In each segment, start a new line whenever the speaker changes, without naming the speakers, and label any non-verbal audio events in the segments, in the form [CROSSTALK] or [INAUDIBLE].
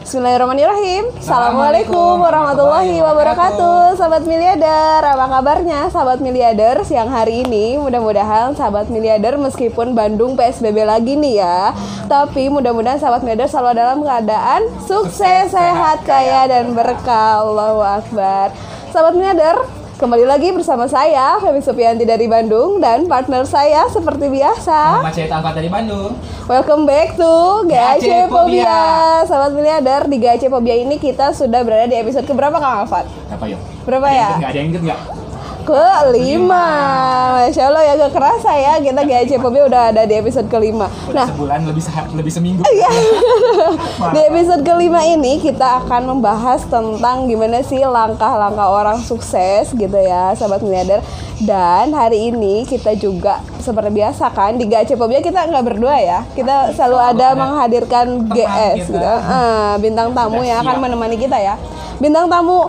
Bismillahirrahmanirrahim. Assalamualaikum warahmatullahi wabarakatuh. Sahabat miliarder, apa kabarnya sahabat miliarder? Siang hari ini mudah-mudahan sahabat miliarder meskipun Bandung PSBB lagi nih ya, tapi mudah-mudahan sahabat miliarder selalu dalam keadaan sukses, sehat, kaya dan berkah. Allahu akbar. Sahabat miliarder, Kembali lagi bersama saya, Femi Supianti dari Bandung dan partner saya seperti biasa.
Sama cerita angkat dari Bandung.
Welcome back to GAC Pobia.
GAC Pobia.
Sahabat miliarder, di GAC Pobia ini kita sudah berada di episode keberapa Kang Afat?
Berapa yuk?
Berapa ya?
Enggak ada yang inget nggak?
Kelima. Masya Allah ya gak kerasa ya kita GAC Pobia udah ada di episode kelima.
Udah
Nah,
sebulan lebih sehat, lebih seminggu.
Iya.
[LAUGHS]
di episode kelima ini kita akan membahas tentang gimana sih langkah-langkah orang sukses gitu ya sahabat miliarder dan hari ini kita juga seperti biasa kan di GAC Pobia kita nggak berdua ya kita selalu ada
ada
menghadirkan
teman
GS gitu
kita. Iya.
Eh, bintang tamu yang
Sudah
akan
siap.
menemani kita ya bintang tamu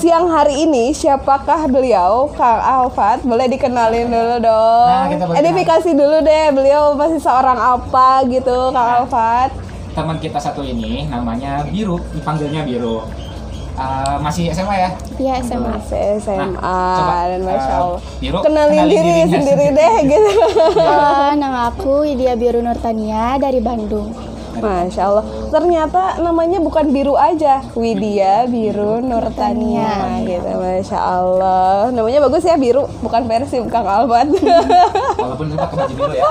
siang hari ini siapakah beliau Kang Alfat boleh dikenalin dulu dong
Nah, kita perkenalkan.
identifikasi dulu deh beliau pasti seorang apa gitu Kang Alfat
Teman kita satu ini namanya Biru, dipanggilnya Biru. Eh, masih SMA
[LAUGHS]
ya?
Iya SMA.
SMA
Nah, coba,
dan masya
eh,
Allah
Biro,
kenalin,
kenalin
diri
dirinya
sendiri deh
Iya.
gitu [LAUGHS]
Halo, Eh, nama aku Widya Biru Nurtania dari Bandung.
masya Allah ternyata namanya bukan biru aja Widya Biru Nurtania gitu masya Allah namanya bagus ya biru bukan versi Kang Albat [LAUGHS]
Walaupun lupa ke baju dulu ya.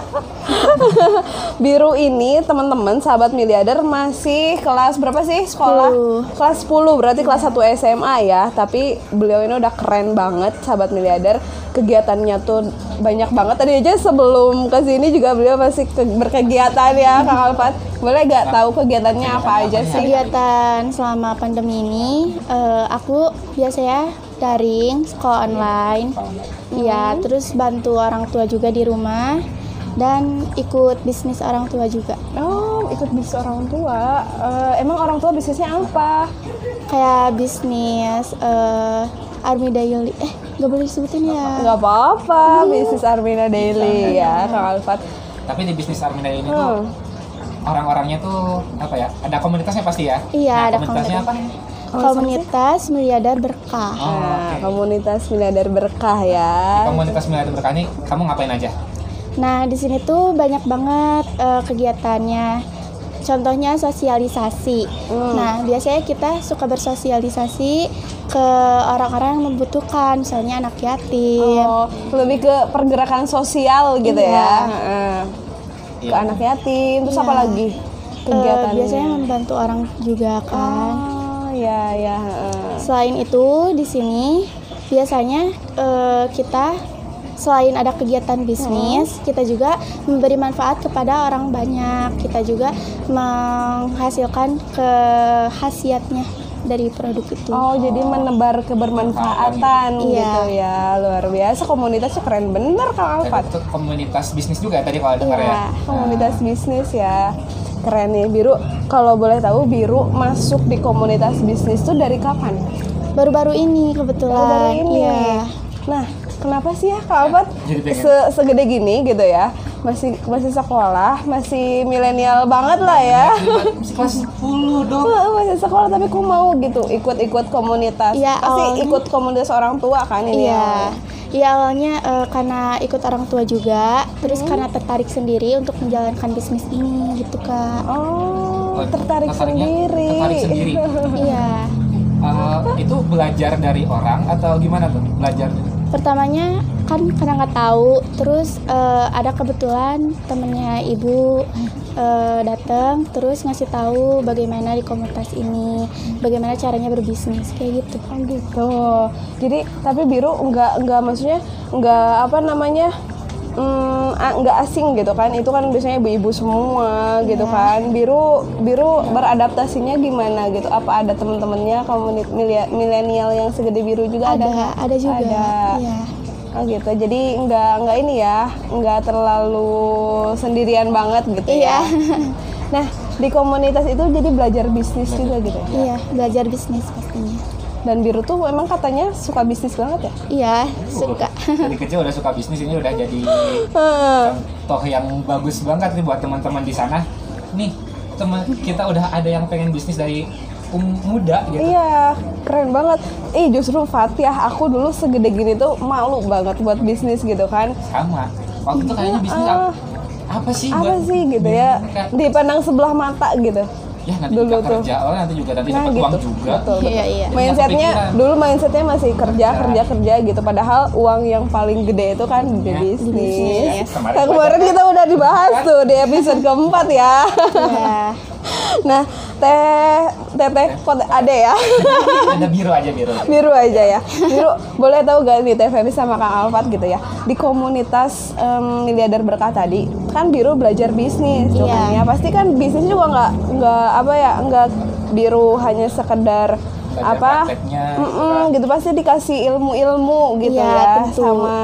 biru ini teman-teman sahabat miliarder masih kelas berapa sih sekolah
10.
kelas 10 berarti kelas 1 SMA ya tapi beliau ini udah keren banget sahabat miliarder kegiatannya tuh banyak banget tadi aja sebelum ke sini juga beliau masih ke- berkegiatan ya Kang Alfat boleh gak tahu kegiatannya apa aja sih
Iya. Kegiatan selama pandemi ini, eh, aku biasanya daring, sekolah online. Iya, terus bantu orang tua juga di rumah dan ikut bisnis orang tua juga.
Oh, ikut bisnis orang tua. Eh, emang orang tua bisnisnya apa?
Kayak bisnis eh, Army Daily. Eh, nggak boleh disebutin ya.
Nggak apa-apa, bisnis Armina Daily ya, Kang Alfat.
Tapi di bisnis Armina ini
Hmm.
Oh.
tuh orang-orangnya tuh apa ya? Ada komunitasnya pasti ya?
Iya,
Nah,
ada
komunitasnya apa?
Komunitas Miliarder Berkah.
Oh,
Nah,
oke.
komunitas miliarder berkah ya.
Komunitas Miliarder Berkah ini kamu ngapain aja?
Nah, di sini tuh banyak banget eh, kegiatannya. Contohnya sosialisasi.
Hmm.
Nah, biasanya kita suka bersosialisasi ke orang-orang yang membutuhkan, misalnya anak yatim. Eh,
Oh, lebih ke pergerakan sosial gitu
Iya.
ya. Heeh. Ke anak yatim, terus apa lagi?
Eh,
Kegiatan
biasanya membantu orang juga kan.
Oh, ya ya. heeh.
Selain itu, di sini biasanya eh, kita selain ada kegiatan bisnis,
Hmm.
kita juga memberi manfaat kepada orang banyak. Kita juga menghasilkan kehasiatnya dari produk itu.
Oh, jadi menebar kebermanfaatan
Iya.
gitu ya. Luar biasa komunitasnya keren bener Kang
Tapi
Alfat.
itu komunitas bisnis juga tadi kalau dengar
Iya,
ya.
Komunitas bisnis ya. Keren nih Biru. Kalau boleh tahu Biru masuk di komunitas bisnis tuh dari kapan?
Baru-baru ini kebetulan.
baru ini.
Iya.
Nah, kenapa sih ya Kak Alfat
[LAUGHS] Jadi pengen.
se- segede gini gitu ya? Masih masih sekolah, masih milenial banget lah ya.
Masih Nah, kelas 10 dong.
Heeh, [LAUGHS] masih sekolah tapi aku mau gitu ikut-ikut komunitas.
Iya,
Pasti
awalnya-
ikut komunitas orang tua kan ini.
Iya.
awalnya.
Iya awalnya eh, karena ikut orang tua juga, terus
Hmm.
karena tertarik sendiri untuk menjalankan bisnis ini gitu kak.
Oh,
Oh,
tertarik
tertariknya-
sendiri.
tertarik sendiri.
Hmm. [LAUGHS]
Iya.
Eh, itu belajar dari orang atau gimana tuh belajar
Pertamanya kan karena nggak tahu, terus eh, ada kebetulan temennya ibu eh, datang, terus ngasih tahu bagaimana di komunitas ini, bagaimana caranya berbisnis kayak gitu.
Oh, gitu. Jadi tapi biru nggak nggak maksudnya nggak apa namanya mm, a- nggak asing gitu kan? Itu kan biasanya ibu-ibu semua gitu
Iya.
kan. Biru biru beradaptasinya gimana gitu? Apa ada teman-temannya komunit milia- milenial yang segede biru juga ada? nggak?
Ada, ada juga.
Ada.
Iya.
Oh gitu. Jadi nggak nggak ini ya, nggak terlalu sendirian banget gitu ya.
Iya.
[LAUGHS] Nah di komunitas itu jadi belajar bisnis juga gitu ya.
Iya, belajar bisnis pastinya.
Dan biru tuh emang katanya suka bisnis banget ya.
Iya, suka.
dari kecil udah suka bisnis ini udah jadi
Heeh.
contoh yang bagus banget nih buat teman-teman di sana nih teman kita udah ada yang pengen bisnis dari um- muda gitu.
Iya, keren banget. Ih, justru Fatiah aku dulu segede gini tuh malu banget buat bisnis gitu kan.
Sama. Waktu itu kayaknya bisnis
Iya,
apa, apa sih
Apa
buat
sih gitu ya?
bisnis? Kayak,
Dipandang sebelah mata gitu.
ya nanti
dulu
juga
tuh.
kerja, oh nanti juga nanti
Nah
dapat
gitu.
uang juga.
Betul, betul.
Iya, iya.
Mindsetnya
Nggak kepikiran. Iya.
dulu mindsetnya masih kerja kerja kerja gitu. Padahal uang yang paling gede itu kan di
Iya. kan?
bisnis.
Bisnis.
Nah, kemarin kita udah dibahas tuh di episode keempat ya. [LAUGHS]
Iya.
Nah, teh teteh pot ade ya.
[LAUGHS] Ada biru aja
[LAUGHS]
biru.
Biru aja ya. Biru, boleh tahu gak nih Teh Feby sama Kang Alfat gitu ya. Di komunitas em, miliarder berkah tadi, kan Biru belajar bisnis tuh
Iya.
kan ya. Pasti kan bisnis juga nggak nggak apa ya, nggak Biru hanya sekedar
Belajar
apa?
prakteknya,
Mm-mm, gitu pasti dikasih ilmu-ilmu gitu
Iya,
ya
tentu.
sama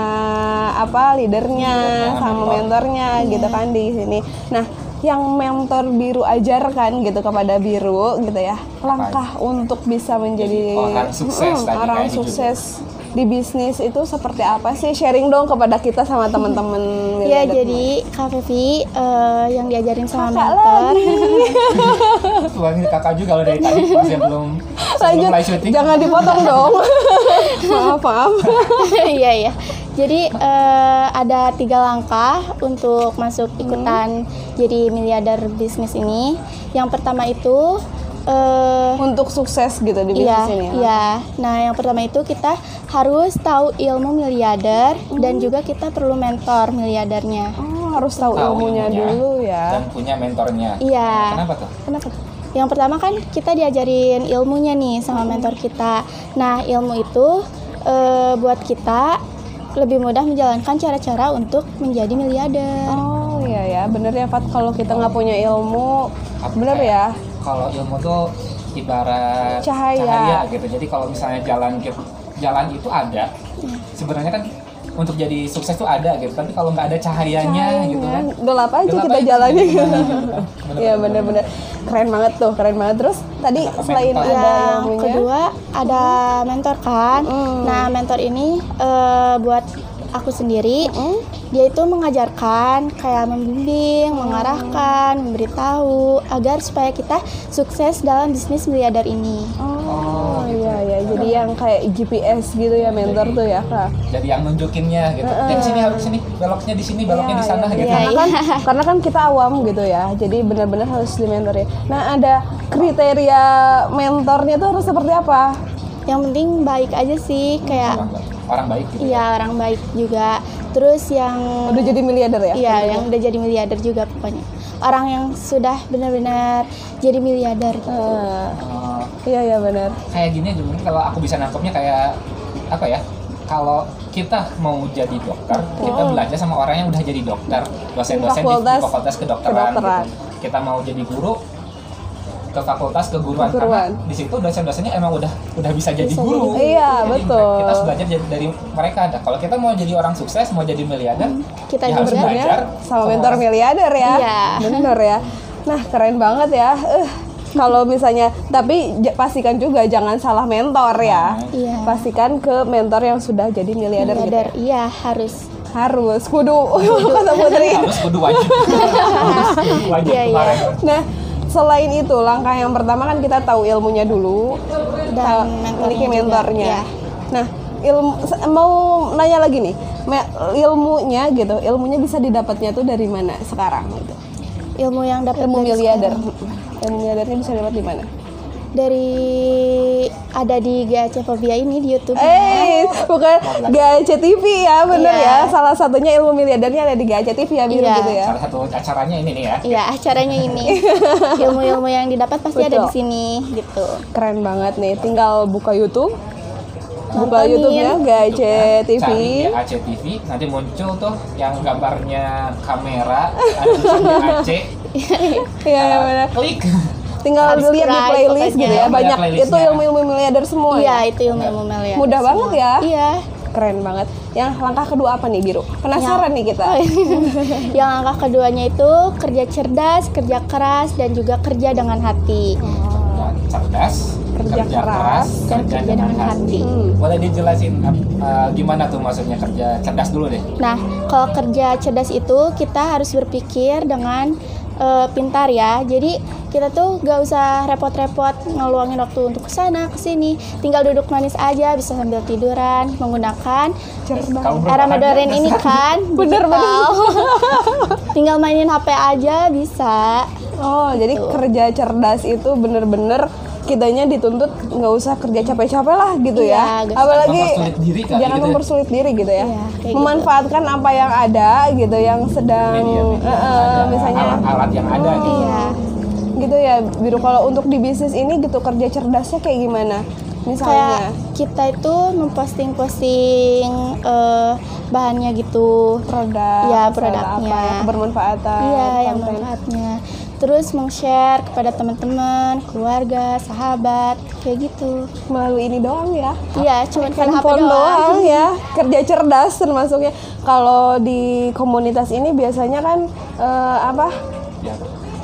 apa leadernya, sama mentornya
Iya.
gitu kan di sini. Nah, yang mentor biru ajarkan gitu kepada biru gitu ya langkah untuk bisa menjadi
Orang Oh, sukses tadi
orang
kayak gitu. di
sukses di bisnis itu seperti apa sih? Sharing dong kepada kita sama teman-teman.
[LAUGHS] Iya,
Miliadat
jadi Kak Fevi eh, yang diajarin sama
Kakak
mentor.
Wangi kakak juga loh dari tadi pas yang belum sebelum
lanjut
live syuting.
jangan
[LAUGHS]
dipotong dong. maaf maaf.
[LAUGHS] Iya iya. Jadi eh, ada tiga langkah untuk masuk
Hmm.
ikutan jadi miliarder bisnis ini. Yang pertama itu eh
Untuk sukses gitu di
iya
bisnis ini.
iya. Nah yang pertama itu kita harus tahu ilmu miliarder
Hmm.
dan juga kita perlu mentor miliardernya.
Oh, harus tahu,
Tahu
ilmunya, dulu ya.
Dan punya mentornya.
Iya.
Kenapa tuh?
Kenapa? Yang pertama kan kita diajarin ilmunya nih sama
Hmm.
mentor kita. Nah, ilmu itu eh, buat kita lebih mudah menjalankan cara-cara untuk menjadi miliarder.
Oh iya ya, bener ya Fat kalau kita nggak punya ilmu,
Apa
bener
kayak-
ya.
Kalau ilmu tuh ibarat
Cahaya.
gitu. Jadi kalau misalnya jalan gitu, jalan itu ada. Sebenarnya kan untuk jadi sukses tuh ada gitu. Tapi kalau nggak ada cahayanya gitu kan.
Iya, Gelap aja
Gelap
kita
aja.
jalannya.
Bener-bener.
[LAUGHS] Iya bener-bener. Keren banget tuh, keren banget. Terus tadi
Kenapa
selain
mental?
ada Hmm.
Yang
ilmunya,
Ya, kedua ada mentor kan.
Hmm.
Nah, mentor ini eh, buat aku sendiri
Hmm.
dia itu mengajarkan kayak membimbing, mengarahkan, memberitahu agar supaya kita sukses dalam bisnis miliarder ini.
Oh iya ya, jadi yang kayak GPS gitu ya mentor tuh ya kak.
Jadi yang nunjukinnya gitu. Dan sini harus sini, beloknya di sini, beloknya di sana gitu.
Iya, Karena kan, karena kan kita awam gitu ya, jadi benar-benar harus dimentori. Nah ada kriteria mentornya tuh harus seperti apa?
Yang penting baik aja sih,
iya.
kayak
Hmm.
Orang, orang baik gitu.
Iya orang baik juga. Terus yang
Udah jadi miliarder ya?
iya yang udah jadi miliarder juga pokoknya. Orang yang sudah benar-benar jadi miliarder.
Eh,
Eh,
iya ya benar.
kayak gini aja mungkin kalau aku bisa nangkepnya kayak apa ya kalau kita mau jadi dokter kita belajar sama orang yang udah jadi dokter dosen-dosen di- di,
Fakultas
fakultas kedokteran,
kedokteran.
gitu. kita mau jadi guru ke fakultas keguruan
Keguruan.
karena di situ dosen-dosennya emang udah udah bisa jadi guru
Iya,
Jadi
betul.
kita harus belajar jadi- dari mereka Nah, kalau kita mau jadi orang sukses mau jadi miliarder
Kita
ya harus
juga.
belajar
sama mentor miliarder ya.
Iya.
Bener ya. Nah, keren banget ya. Eh, kalau misalnya tapi j- pastikan juga jangan salah mentor ya.
Iya.
Pastikan ke mentor yang sudah jadi miliarder gitu.
Miliarder iya harus.
Harus kudu [LAUGHS] kata Putri.
harus kudu
[LAUGHS]
wajib Harus
[LAUGHS]
kudu wajib
Iya, iya.
kemarin
Nah, selain itu langkah yang pertama kan kita tahu ilmunya dulu
Dan
ta-
mentornya
memiliki
juga,
mentornya.
iya.
Nah, ilmu se- mau nanya lagi nih, me- ilmunya gitu, ilmunya bisa didapatnya tuh dari mana sekarang gitu.
Ilmu yang dapat
ilmu
dari
miliarder
sekarang.
ilmu miliardernya bisa dapat di mana
dari ada di GAC Fobia ini di YouTube.
eh bukan Gace TV ya bener
Iya.
ya salah satunya ilmu miliardernya ada di Gace TV ya biru
Iya.
gitu ya
salah satu acaranya ini nih ya
Iya acaranya
[LAUGHS]
ini. Ilmu-ilmu yang didapat pasti ada di
Betul.
sini gitu.
keren banget nih tinggal buka YouTube buka
Nontonin.
YouTube-nya Gace TV
Cari ya. di AC TV, nanti muncul tuh yang gambarnya kamera, ada tulisannya AC.
Iya ya, bener.
Klik.
tinggal
Subscribe
lihat di playlist
pokoknya.
gitu ya
Ada
banyak
Iya, playlistnya.
itu ilmu-ilmu miliarder semua ya
Iya itu ilmu-ilmu miliarder.
Mudah banget ya. [LAUGHS]
Iya.
keren banget yang langkah kedua apa nih biru penasaran
Iya.
nih kita
Oh, yang langkah keduanya itu kerja cerdas, kerja keras, dan juga kerja dengan hati.
Oh,
Nah, Cerdas,
Kerja keras,
dan kerja dengan hati.
Boleh dijelasin ap- eh, gimana tuh maksudnya kerja cerdas dulu deh.
Nah, kalau kerja cerdas itu kita harus berpikir dengan eh, pintar ya. Jadi kita tuh gak usah repot-repot ngeluangin waktu untuk kesana kesini. Tinggal duduk manis aja, bisa sambil tiduran menggunakan eh,
Kamu berapa
era modern
harga?
ini kan.
Bener, bener.
digital. [LAUGHS] Tinggal mainin HP aja bisa.
Oh, jadi kerja cerdas itu bener-bener kitanya dituntut nggak usah kerja capek-capek lah gitu ya.
Iya, nggak usah.
Apalagi
Mempersulit diri kali
jangan
gitu ya.
mempersulit diri gitu ya.
Iya, kayak gitu.
Memanfaatkan apa yang ada gitu yang sedang
Media-media
eh, eh,
yang ya, ada,
misalnya
alat-alat yang ada gitu.
Iya.
gitu ya. Biru kalau untuk di bisnis ini gitu kerja cerdasnya kayak gimana?
kayak
Misalnya.
kita itu memposting-posting eh, bahannya gitu
produk,
Iya,
misalnya
produknya.
apa yang bermanfaatan,
iya yang
konten.
manfaatnya terus meng-share kepada teman-teman keluarga sahabat kayak gitu
melalui ini doang ya.
iya cuma karena HP
handphone
doang,
doang ya kerja cerdas termasuknya kalau di komunitas ini biasanya kan eh, apa
Ya.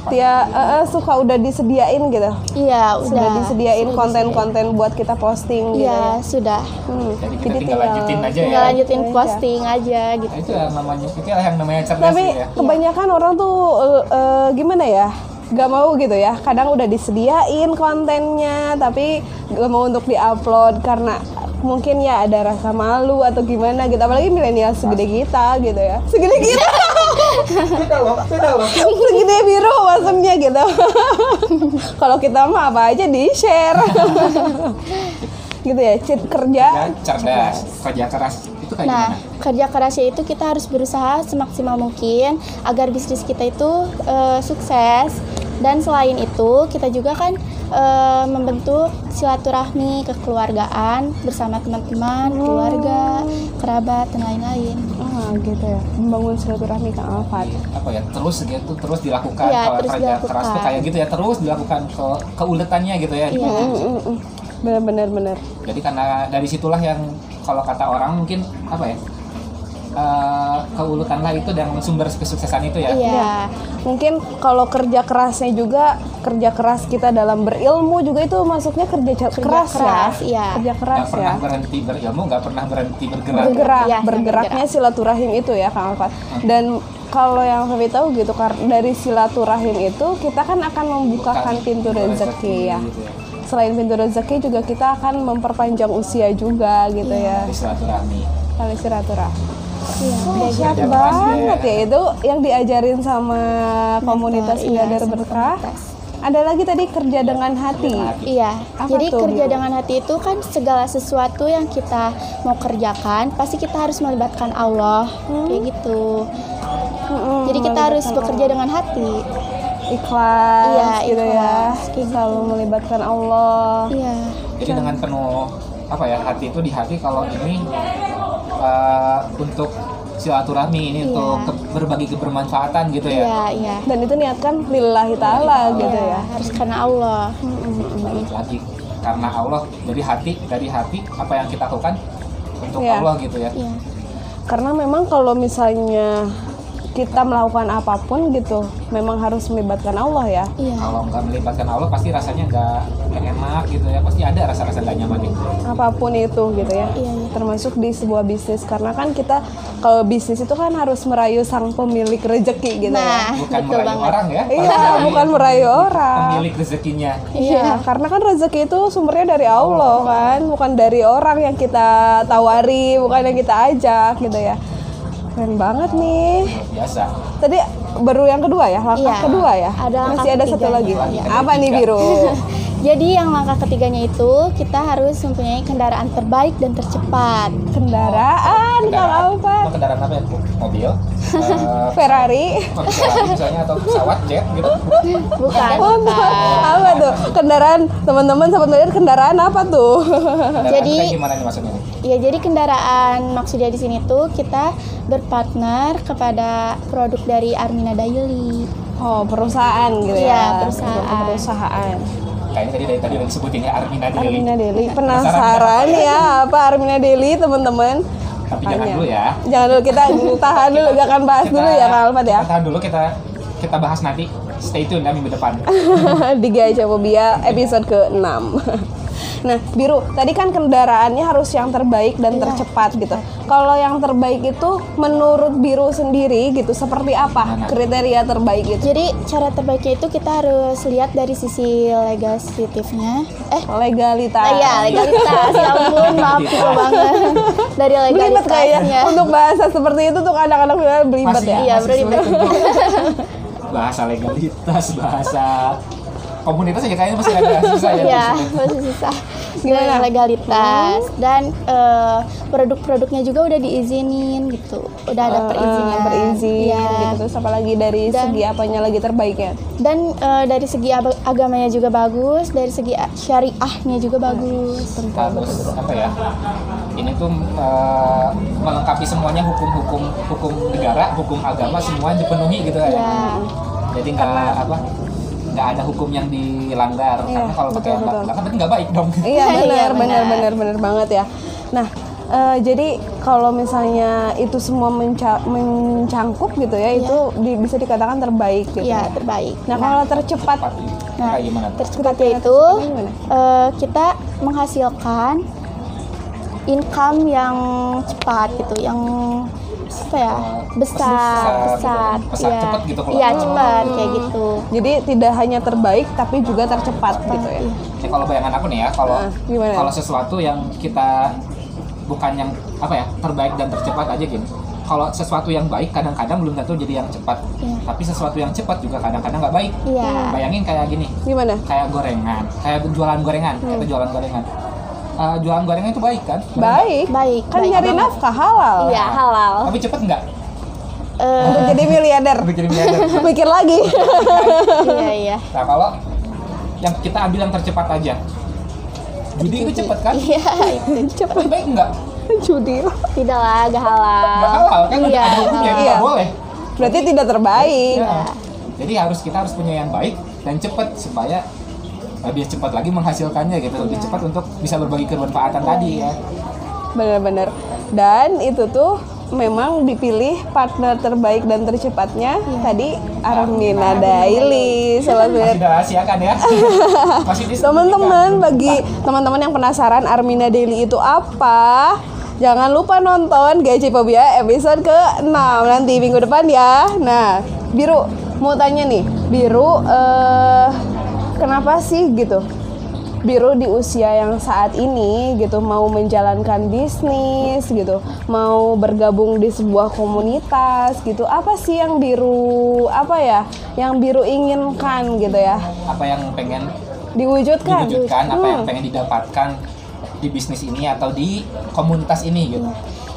dia eh, eh, suka udah disediain gitu
iya
sudah
udah
disediain konten-konten buat kita posting gitu
iya
ya
sudah
Hmm,
Jadi kita tinggal lanjutin aja ya.
tinggal lanjutin
Iya.
posting aja gitu
Nah, itu ya namanya itu ya yang namanya cerdas
tapi
gitu ya.
kebanyakan orang tuh eh, eh, gimana ya gak mau gitu ya kadang udah disediain kontennya tapi gak mau untuk diupload karena mungkin ya ada rasa malu atau gimana gitu apalagi milenial segede kita gitu ya segede kita [LAUGHS]
Beda loh, beda loh.
segede biru maksudnya gitu [LAUGHS] kalau kita mah apa aja di share [LAUGHS] gitu ya cit kerja
Ya, cerdas, kerja keras itu kayak
Nah,
gimana?
kerja kerasnya itu kita harus berusaha semaksimal mungkin agar bisnis kita itu eh, sukses. Dan selain itu, kita juga kan eh, membentuk silaturahmi kekeluargaan bersama teman-teman, keluarga, kerabat, dan lain-lain.
ah, gitu ya membangun silaturahmi kang Alfat
apa ya terus gitu terus dilakukan
Iya,
kalau
terus
kerja keras tuh
dilakukan.
kayak gitu ya terus dilakukan ke keuletannya gitu ya
Iya.
bener-bener bener
jadi karena dari situlah yang kalau kata orang mungkin apa ya eh, keuletanlah itu dan sumber kesuksesan itu ya
Iya.
mungkin kalau kerja kerasnya juga kerja keras kita dalam berilmu juga itu masuknya kerja, cer-
Kerja
keras,
keras,
ya
iya.
kerja keras
nggak
ya
pernah berhenti berilmu nggak pernah berhenti bergerak
bergerak
Iya,
bergeraknya silaturahim itu ya kang Alfat dan kalau yang Febi tahu gitu kar- dari silaturahim itu kita kan akan membukakan pintu
iya.
rezeki ya
gitu ya.
selain pintu rezeki juga kita akan memperpanjang usia juga gitu ya
Jadi silaturahmi
kalau silaturahmi
Iya,
Siap
kerja keras ya.
banget ya itu yang diajarin sama komunitas
iya,
Miladar
sama
Berkah.
komunitas.
Ada lagi tadi kerja dengan hati.
Nah, gitu.
Iya,
Apa
jadi
tuh,
kerja
Bu?
dengan hati itu kan segala sesuatu yang kita mau kerjakan pasti kita harus melibatkan Allah kayak gitu.
Mm-mm,
Jadi kita harus
melibatkan
bekerja dengan hati.
Allah. ikhlas
Iya,
gitu ya.
ikhlas, kayak
Selalu melibatkan Allah.
Iya.
jadi dengan penuh apa ya hati itu di hati kalau ini eh, untuk silaturahmi ini untuk ke- berbagi kebermanfaatan gitu ya
Iya, iya.
Dan itu niatkan lillahi taala gitu ya.
Iya, harus karena Allah.
balik lagi karena Allah dari hati dari hati apa yang kita lakukan untuk
Iya.
Allah gitu ya
Iya.
Karena memang kalau misalnya kita melakukan apapun gitu, memang harus melibatkan Allah ya.
Iya.
kalau nggak melibatkan Allah pasti rasanya nggak nggak enak gitu ya pasti ada rasa-rasa nggak nyaman itu
apapun itu gitu ya
Iya, iya.
termasuk di sebuah bisnis karena kan kita kalau bisnis itu kan harus merayu sang pemilik rezeki gitu
Nah,
bukan
betul
merayu
banget.
orang ya
ya iya bukan merayu orang
pemilik rezekinya
Iya, karena kan rezeki itu sumbernya dari Allah kan, bukan dari orang yang kita tawari, bukan yang kita ajak gitu ya. Keren banget nih.
luar biasa
Tadi baru yang kedua ya, langkah
Iya.
kedua ya.
Ada langkah
Masih ada satu
ketiganya.
lagi.
Iya.
Apa nih
[LAUGHS]
biru?
Jadi yang langkah ketiganya itu kita harus mempunyai kendaraan terbaik dan tercepat.
Kendaraan, Kang
kendaraan
Alfa.
apa kendaraan apa ya mobil Eh,
Ferrari.
pesawat misalnya atau pesawat jet gitu
Bukan.
Untuk
bukan.
apa tuh? Kendaraan teman-teman sahabat melihat kendaraan apa tuh?
kendaraan
Jadi-
kayak gimana nih maksudnya nih?
Ya jadi kendaraan maksudnya di sini tuh kita berpartner kepada produk dari Armina Daily.
Oh perusahaan gitu ya?
Iya, perusahaan.
Perusahaan.
kayaknya tadi dari tadi udah disebutin ya Armina Deli
Armina Deli penasaran ya apa Armina Deli teman-teman?
tapi jangan
Tanya.
dulu ya
Jangan dulu kita tahan dulu, gak akan bahas dulu ya Kak Alfat ya. [LAUGHS]
kita tahan dulu kita kita bahas nanti stay tune ya minggu depan
di Gajah Fobia episode ke-6. Nah, Biru, tadi kan kendaraannya harus yang terbaik dan tercepat gitu. Kalau yang terbaik itu menurut Biru sendiri gitu seperti apa kriteria terbaik itu?
Jadi cara terbaiknya itu kita harus lihat dari sisi legasitifnya. Eh,
Legalitas.
ah, ya legalitas. ya ampun, maaf itu banget. Dari
Belibet kayaknya.
legalitasnya.
[LAUGHS] Untuk bahasa seperti itu tuh kadang-kadang bilang belibet
Masih,
ya.
Iya,
masih
berarti- [LAUGHS]
sulit untuk bahasa legalitas, bahasa komunitas aja kayaknya masih agak susah ya.
Iya, masih
[LAUGHS]
susah.
Gimana?
Dari legalitas dan eh, produk-produknya juga udah diizinin gitu. Udah ada perizinan.
Eh, berizin
Iya.
gitu terus apalagi dari
Dan-
segi apanya lagi
[LAUGHS]
terbaiknya
Dan eh, dari segi ab- agamanya juga bagus, dari segi a- syariahnya juga
Iya.
bagus.
Harus apa ya? Ini tuh eh, melengkapi semuanya hukum-hukum hukum negara, hukum agama semua dipenuhi gitu ya.
Iya.
Jadi nggak apa? nggak ada hukum yang dilanggar
Iya,
karena kalau pakai
betul,
ambang
betul.
batas berarti nggak baik dong.
iya
Iya,
benar benar
benar.
benar benar banget ya nah eh, jadi kalau misalnya itu semua menca- mencangkup gitu ya itu di- bisa dikatakan terbaik gitu ya.
Iya, terbaik.
nah kalau tercepat
Cepat.
Nah,
Kayak gimana? tuh?
tercepat yaitu
gimana?
eh, kita menghasilkan income yang cepat gitu, yang apa ya besar,
Oh, Besar
besar,
gitu. Besar,
iya.
cepat gitu kalau-
Iya cepat kayak gitu.
jadi tidak hanya terbaik tapi juga tercepat gitu ya
Ya, kalau bayangan aku nih ya, kalau
Ah, gimana?
kalau sesuatu yang kita bukan yang apa ya terbaik dan tercepat aja gitu. Kalau sesuatu yang baik kadang-kadang belum tentu jadi yang cepat.
Iya.
Tapi sesuatu yang cepat juga kadang-kadang nggak baik.
Iya.
Bayangin kayak gini,
gimana
kayak gorengan, kayak jualan gorengan, kayak jualan gorengan. Eh, jualan gorengan itu baik kan?
baik
Baik,
kan
baik.
nyari nafkah halal
Iya halal.
Tapi cepat nggak?
Eh,
Untuk jadi miliarder
Bikin miliarder.
[LAUGHS] mikir lagi
iya iya. [LAUGHS]
Nah kalau yang kita ambil yang tercepat aja, judi itu cepat kan?
Iya itu cepat.
Tapi baik nggak?
judi
Tidak lah, gak halal.
Nggak halal kan?
Iya,
Ada hukumnya, itu
Iya.
nggak boleh.
berarti tidak terbaik
Ya. Jadi harus kita harus punya yang baik dan cepat supaya lebih cepat lagi menghasilkannya gitu lebih
Iya.
cepat untuk bisa berbagi kebermanfaatan tadi ya.
Benar-benar. Dan itu tuh memang dipilih partner terbaik dan tercepatnya tadi Iya. Armina Daily sobat
Masih
Militer.
dirahasiakan
[LAUGHS]
ya. Masih disembunyikan.
Iya. Teman-teman bagi teman-teman yang penasaran Armina Daily itu apa? Jangan lupa nonton Gaji Pobia episode ke-6 nanti minggu depan ya. Nah, Biru mau tanya nih, Biru eh kenapa sih gitu? Biru di usia yang saat ini gitu mau menjalankan bisnis gitu, mau bergabung di sebuah komunitas gitu. Apa sih yang Biru apa ya? Yang Biru inginkan gitu ya?
apa yang pengen
diwujudkan.
diwujudkan, apa yang
Hmm.
pengen didapatkan di bisnis ini atau di komunitas ini gitu.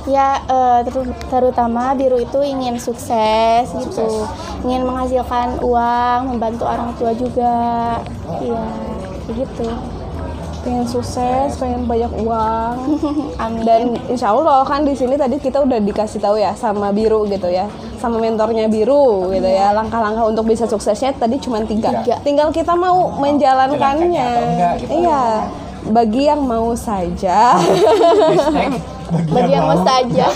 Ya, eh, teru- terutama biru itu ingin sukses gitu,
Sukses.
ingin menghasilkan uang, membantu orang tua juga, iya, kayak gitu.
pengen sukses, pengen banyak uang.
Amin.
Dan insya Allah kan di sini tadi kita udah dikasih tahu ya sama Biru gitu ya, sama mentornya Biru gitu ya. Langkah-langkah untuk bisa suksesnya tadi cuma tiga.
Tiga.
Tinggal kita mau menjalankannya.
atau enggak gitu.
Iya. Bagi yang mau saja. [LAUGHS]
Hashtag
Bagi yang mau saja.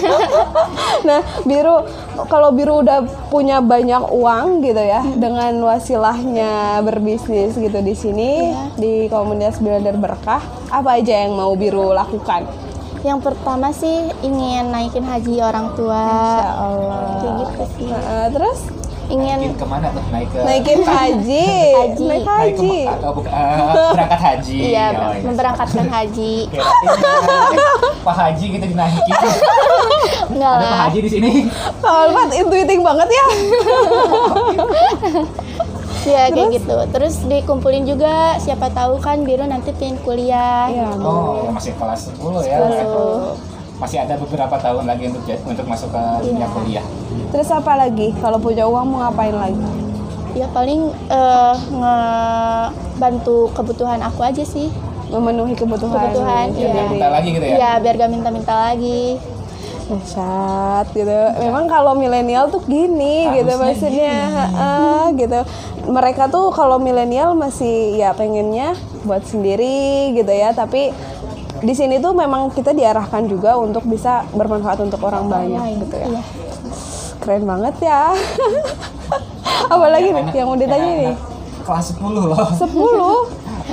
nah, Biru kalau Biru udah punya banyak uang gitu ya
Hmm.
dengan wasilahnya berbisnis gitu di sini
Iya.
di komunitas Builder Berkah, apa aja yang mau Biru lakukan?
[LAUGHS] Yang pertama sih ingin naikin haji orang tua.
Insya Allah.
Kayak gitu sih.
Nah, eh, terus
Naikin
Ingin
kemana tuh? Naik ke
naikin haji, naik
Haji.
naik ke
haji.
Mekah atau bukan? Eh, berangkat haji.
iya
Oh, iya.
memberangkatkan [LAUGHS] haji.
Kirain eh, Pak Haji kita dinaikin.
Enggak
Ada Pak
lah.
Haji di sini.
Kak Alfat intuiting banget ya.
Iya kayak gitu. Terus dikumpulin juga siapa tahu kan biru nanti pengen kuliah.
Iya.
Oh, ya masih kelas 10 ya.
Sepuluh.
Masih ada beberapa tahun lagi untuk untuk masuk ke dunia kuliah.
Terus apa lagi? Kalau punya uang mau ngapain lagi?
Ya paling eh, ngebantu kebutuhan aku aja sih.
Memenuhi kebutuhan.
Kebutuhan,
gitu
iya.
dari-
Minta lagi gitu ya.
Iya, biar gak minta-minta lagi.
dahsyat gitu. Memang kalau milenial tuh gini gitu
Harusnya
maksudnya Heeh, gitu. Mereka tuh kalau milenial masih ya pengennya buat sendiri gitu ya, tapi di sini tuh memang kita diarahkan juga untuk bisa bermanfaat untuk orang banyak gitu ya.
Iya.
Keren banget ya. [LAUGHS]
Iya,
Apalagi nih yang mau ditanya nih.
Kelas 10 loh.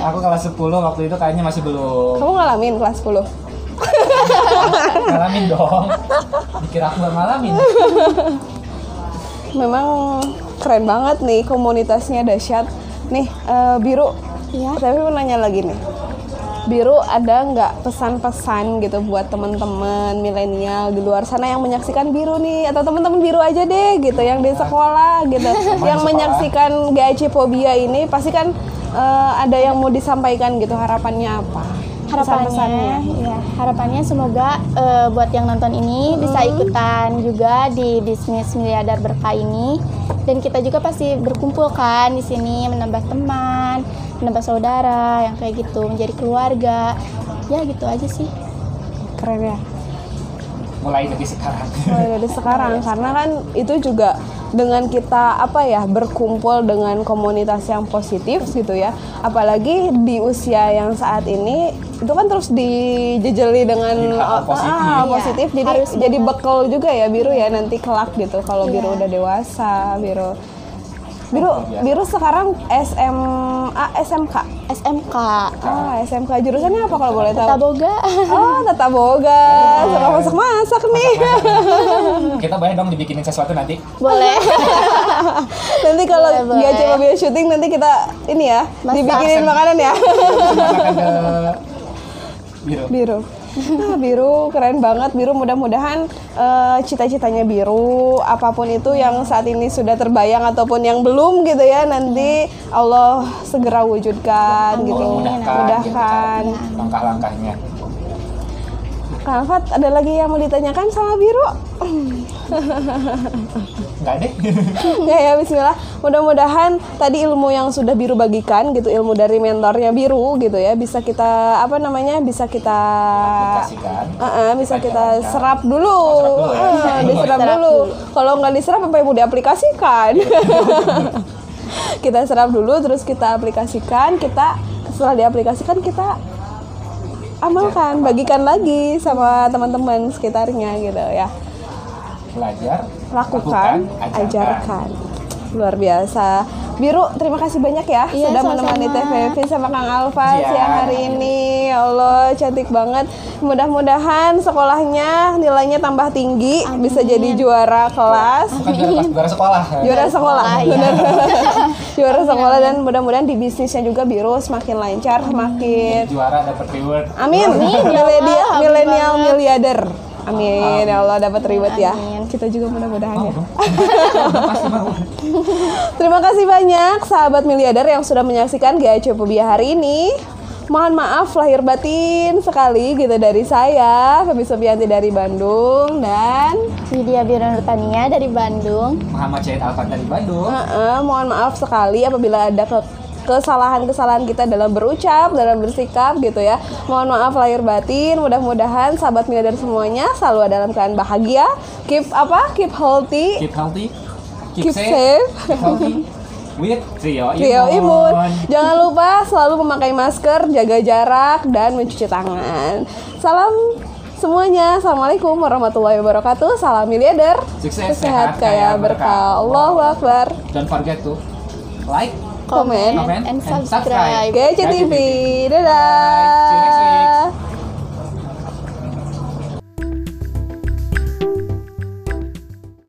10
Aku kelas 10 waktu itu kayaknya masih belum.
Kamu ngalamin kelas 10?
Ngalamin dong. Dikira aku gak ngalamin.
Memang keren banget nih komunitasnya dahsyat. Nih, eh, Biru,
Iya.
Tapi mau nanya lagi nih. Biru ada nggak pesan-pesan gitu buat teman-teman milenial di luar sana yang menyaksikan biru nih atau teman-teman biru aja deh gitu yang di sekolah gitu yang
sekolah.
menyaksikan GAC Pobia ini pasti kan eh, ada yang mau disampaikan gitu harapannya apa Pesan-pesannya.
harapannya ya harapannya semoga eh, buat yang nonton ini bisa
Hmm.
ikutan juga di bisnis miliarder berkah ini dan kita juga pasti berkumpul kan di sini menambah teman menambah saudara yang kayak gitu menjadi keluarga ya gitu aja sih
keren ya
Mulai dari sekarang.
mulai dari sekarang karena kan itu juga dengan kita apa ya berkumpul dengan komunitas yang positif gitu ya apalagi di usia yang saat ini itu kan terus dijejeli dengan
Dengan
ah,
hal positif.
hal positif
Iya,
jadi
harus
jadi bekal juga ya biru ya nanti kelak gitu kalau biru
Iya.
udah dewasa biru biru biru sekarang SMA SMK
SMK
ah SMK jurusannya apa kalau boleh tahu
Taboga
oh tata boga suka masak masak nih
Kita boleh dong dibikinin sesuatu nanti.
[LAUGHS]
[LAUGHS]
boleh
nanti kalau
Boleh, boleh.
nggak coba biar syuting nanti kita ini ya
Masak.
dibikinin makanan
[LAUGHS]
ya
Masakan ke biru.
biru Nah, biru keren banget biru mudah-mudahan eh, cita-citanya biru apapun itu yang saat ini sudah terbayang ataupun yang belum gitu ya nanti Allah segera wujudkan gitu
Allah mudahkan, gitu
mudahkan
kan, langkah-langkahnya.
Kak Alfat, ada lagi yang mau ditanyakan sama biru
Enggak deh.
[LAUGHS] ya ya Bismillah mudah-mudahan tadi ilmu yang sudah biru bagikan gitu ilmu dari mentornya biru gitu ya bisa kita apa namanya bisa kita
Aplikasikan.
Uh-uh, bisa kita
Aplikasikan.
serap dulu,
Oh, serap dulu ya.
Uh, diserap
Serap
dulu. Kalau nggak diserap apa yang mau diaplikasikan? [LAUGHS] kita serap dulu, terus kita aplikasikan. Kita setelah diaplikasikan kita amalkan, bagikan lagi sama teman-teman sekitarnya gitu ya
Belajar,
lakukan, ajarkan. Luar biasa. Biru, terima kasih banyak ya
Iya,
sudah
sama-sama.
menemani TVV sama Kang Alfa
Iya.
siang hari ini. Ya Allah, cantik banget. Mudah-mudahan sekolahnya nilainya tambah tinggi, bisa jadi juara kelas.
Bukan juara kelas, juara sekolah.
[LAUGHS] Juara sekolah, benar. juara sekolah dan mudah-mudahan di bisnisnya juga biru semakin lancar, semakin
Juara dapat reward.
Amin. Ya Milenial milenial miliarder. Amin. Ya Allah dapat reward ya. Kita juga mudah-mudahan ya. [LAUGHS] Terima kasih banyak sahabat miliarder yang sudah menyaksikan GAC Pubia hari ini. Mohon maaf lahir batin sekali gitu dari saya, Feby Sofianti dari Bandung dan
Widya Bira Nurtania dari Bandung
Muhammad Syed Alfan dari Bandung.
Heeh, mohon maaf sekali apabila ada ke- kesalahan-kesalahan kita dalam berucap, dalam bersikap gitu ya. Mohon maaf lahir batin. Mudah-mudahan sahabat miliarder semuanya selalu dalam keadaan bahagia. Keep apa? Keep healthy.
Keep healthy.
Keep safe.
Keep healthy. With Trio Imun.
Trio imun. Jangan lupa selalu memakai masker, jaga jarak dan mencuci tangan. Salam semuanya. Assalamualaikum warahmatullahi wabarakatuh. Salam miliarder.
Sukses, sehat,
kaya
kaya
berkah.
berkah.
Allahu akbar.
Don't forget to like,
Komen.
comment,
and
and subscribe.
subscribe.
GCTV. Dadah.
Bye. See you next week.